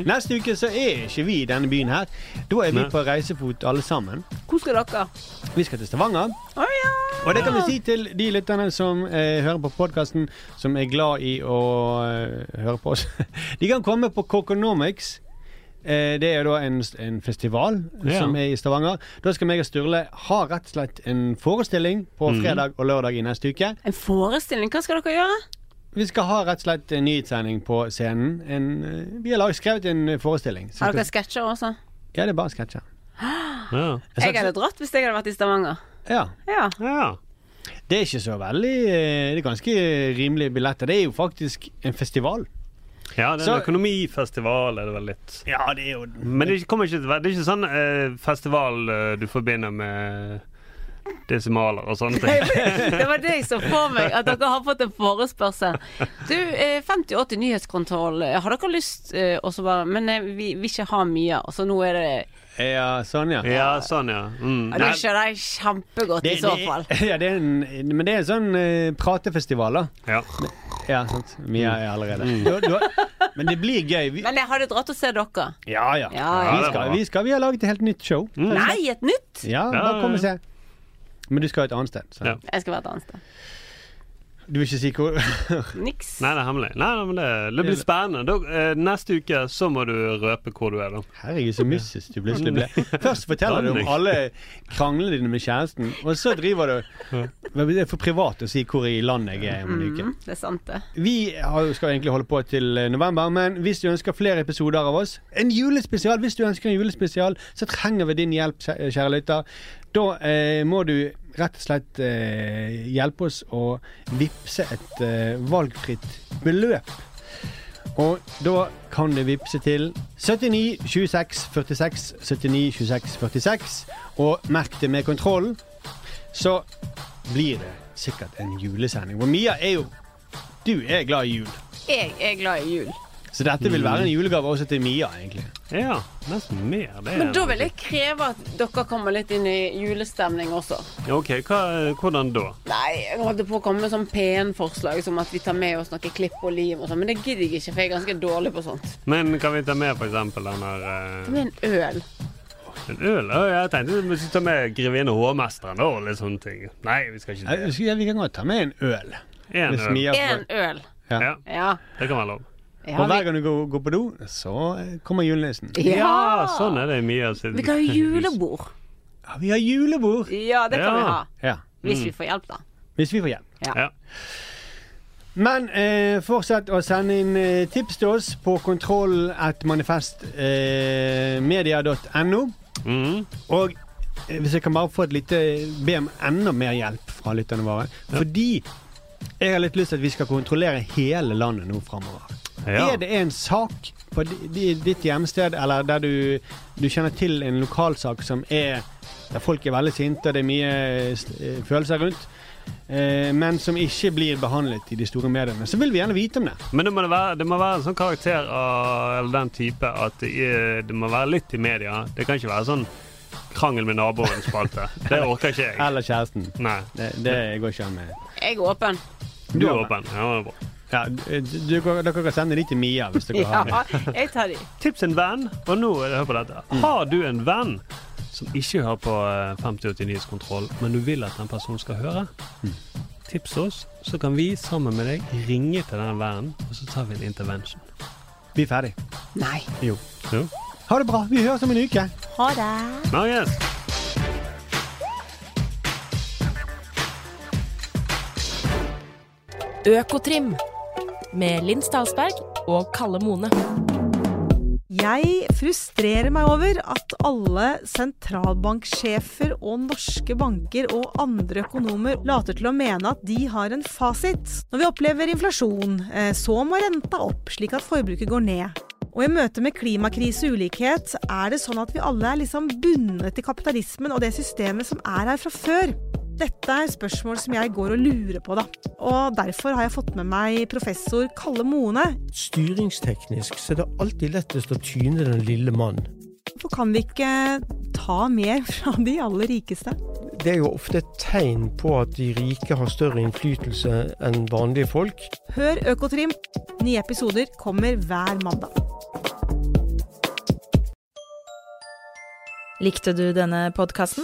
Neste uke så er ikke vi i denne byen her. Da er vi
Nei.
på reisefot alle sammen.
Hvor skal dere?
Vi skal til Stavanger. Og det kan vi si til de lytterne som eh, hører på podkasten, som er glad i å eh, høre på oss. *laughs* De kan komme på Coconomics. Eh, det er da en, en festival
Ja.
som er i Stavanger. Da skal meg og Sturle ha rett og slett en forestilling på
Mhm.
fredag og lørdag i neste uke.
En forestilling? Hva skal dere gjøre?
Vi skal ha rett og slett en nyhetssending på scenen. En, eh, vi har lag- skrevet en eh, forestilling. Så
Har
skal-
dere sketsjer også?
Ja, det er bare sketsjer.
Jeg hadde dratt hvis jeg hadde vært i Stavanger.
Ja.
*laughs*
Ja.
Det er ikke så veldig eh, Det er ganske rimelige billetter. Det er jo faktisk en festival.
Ja, det er
Så-
en økonomifestival, er det vel litt.
Ja, det er jo
Men det kommer ikke til å være Det er ikke sånn eh, festival eh, du forbinder med desimaler og sånne
*laughs*
ting.
Det var det jeg så for meg, at dere har fått en forespørsel. Du, eh, 5080 Nyhetskontroll, eh, har dere lyst eh, Og så bare Men eh, vi vil ikke ha mye, altså nå er det
Ja, sånn, ja.
Ja, sånn, ja. Mm.
Ja, Det skjønner jeg kjempegodt i så fall.
*laughs* Ja, det er en, men det er en sånn eh, pratefestival, da.
Ja.
ja sant. Vi er allerede du, har- du har, Men det blir gøy. Vi,
Men jeg hadde dratt og se dere.
ja, ja.
Ja, ja.
Vi, skal, vi, skal, vi har laget et helt nytt show.
Mm.
Nei, et nytt?
Mm. Ja, bare kom og se. Men du skal et annet sted. Så.
Jeg skal være et annet sted.
Du vil ikke si hvor *laughs*
Niks.
Nei, det er hemmelig. Nei, nei, men det, det blir spennende. Da, eh, neste uke så må du røpe hvor du er, da.
Herregud, så mystisk du plutselig ble. Først forteller du om alle kranglene dine med kjæresten, og så driver du Men Det er for privat å si hvor i landet jeg er om en uke.
Mhm, det er sant, det.
Vi har jo- skal egentlig holde på til eh, november, men hvis du ønsker flere episoder av oss, en julespesial, hvis du ønsker en julespesial, så trenger vi din hjelp, kjæ- kjære lytter. Da eh, må du rett og slett eh, hjelpe oss å vippse et eh, valgfritt beløp. Og da kan du vippse til 79 26 46 79 26 46, og merk det med kontrollen, så blir det sikkert en julesending. Og Mia er jo Du er glad i jul.
Jeg er glad i jul.
Så dette vil være en julegave også til Mia, egentlig.
Ja, nesten mer. Det
Men da vil jeg kreve at dere kommer litt inn i julestemning også.
OK, hva, hvordan da?
Nei, jeg holdt på å komme med sånn pen forslag som at vi tar med oss noe klipp og lim og sånn, men det gidder jeg ikke, for jeg er ganske dårlig på sånt.
Men kan vi ta med for eksempel den her eh,
Men en øl.
en øl? Å, jeg tenkte vi skulle ta med Grevinne Hovmesteren da, og litt sånne ting. Nei, vi skal ikke det.
Ja, vi kan godt ta med en øl.
En
Hvis
øl.
Mia får-
En øl.
Ja.
Ja.
Det kan være lov.
Ja,
og hver
vi,
gang du går, går på do, så eh, kommer julenissen.
Ja! Ja,
sånn er det Mia sin
vi kan ha
*laughs*
julebord.
Ja, vi har julebord.
Ja, det kan vi ha.
Ja.
Hvis vi får hjelp, da.
Hvis vi får hjelp.
Ja.
Men eh, fortsett å sende inn eh, tips til oss på eh, kontroll.manifestmedia.no.
Mhm.
Og eh, hvis jeg kan bare få et lite be om enda mer hjelp fra lytterne våre. Fordi jeg har litt lyst til at vi skal kontrollere hele landet nå framover.
Ja.
Er det en sak på di- di- ditt hjemsted, eller der du, du kjenner til en lokalsak som er der folk er veldig sinte og det er mye eh, følelser rundt, eh, men som ikke blir behandlet i de store mediene, så vil vi gjerne vite om det.
Men det må, det være, det må være en sånn karakter av eller den type at det, er, det må være litt i media. Det kan ikke være sånn krangel med naboen-spalte. Det orker ikke jeg.
Eller kjæresten.
Nei.
Det, det går ikke an med.
Jeg er åpen.
Du er åpen. Ja, det er bra.
Ja, d- du, dere kan sende de til Mia hvis dere har
Ja, jeg tar de.
Tips en venn, og nå hør på dette. Har du en venn som ikke hører på eh, 5080 Nyhetskontroll, men du vil at den personen skal høre, tips oss, så kan vi sammen med deg ringe til den vennen, og så tar vi en intervention.
Vi er ferdig.
Nei.
Jo.
Jo.
Ha det bra. Vi høres om en uke.
Ha det.
Marius!
Økotrim med Linn Stalsberg og Kalle Mone.
Jeg frustrerer meg over at alle sentralbanksjefer og norske banker og andre økonomer later til å mene at de har en fasit. Når vi opplever inflasjon, eh, så må renta opp, slik at forbruket går ned. Og i møte med klimakrise og ulikhet er det sånn at vi alle er liksom bundet til kapitalismen og det systemet som er her fra før. Dette er spørsmål som jeg går og lurer på, da. Og derfor har jeg fått med meg professor Kalle Mone.
Styringsteknisk så er det alltid lettest å tyne den lille mann.
Hvorfor kan vi ikke ta mer fra de aller rikeste?
Det er jo ofte et tegn på at de rike har større innflytelse enn vanlige folk.
Hør Økotrim. Nye episoder kommer hver mandag.
Likte du denne podkasten?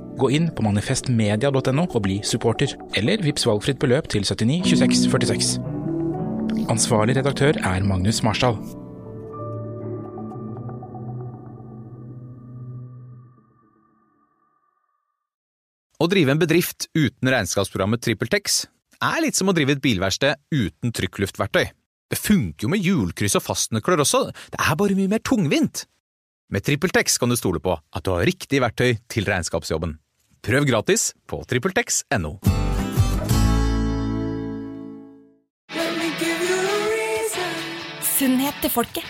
Gå inn på manifestmedia.no og bli supporter, eller vips valgfritt beløp til 79 26 46. Ansvarlig redaktør er Magnus Marsdal.
Å drive en bedrift uten regnskapsprogrammet TrippelTex er litt som å drive et bilverksted uten trykkluftverktøy. Det funker jo med hjulkryss og fastnøkler også, det er bare mye mer tungvint. Med TrippelTex kan du stole på at du har riktig verktøy til regnskapsjobben. Prøv gratis på TrippelTex.no.
Sunnhet til folket.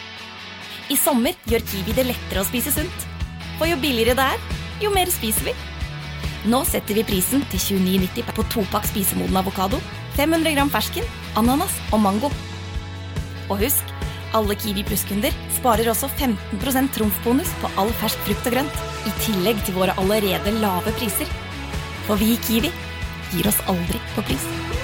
I sommer gjør Kiwi det lettere å spise sunt. For jo billigere det er, jo mer spiser vi. Nå setter vi prisen til 29,90 på topakk spisemoden avokado, 500 gram fersken, ananas og mango. Og husk, alle Kiwi Pluss-kunder sparer også 15 trumfbonus på all fersk frukt og grønt, i tillegg til våre allerede lave priser. For vi i Kiwi gir oss aldri på pris.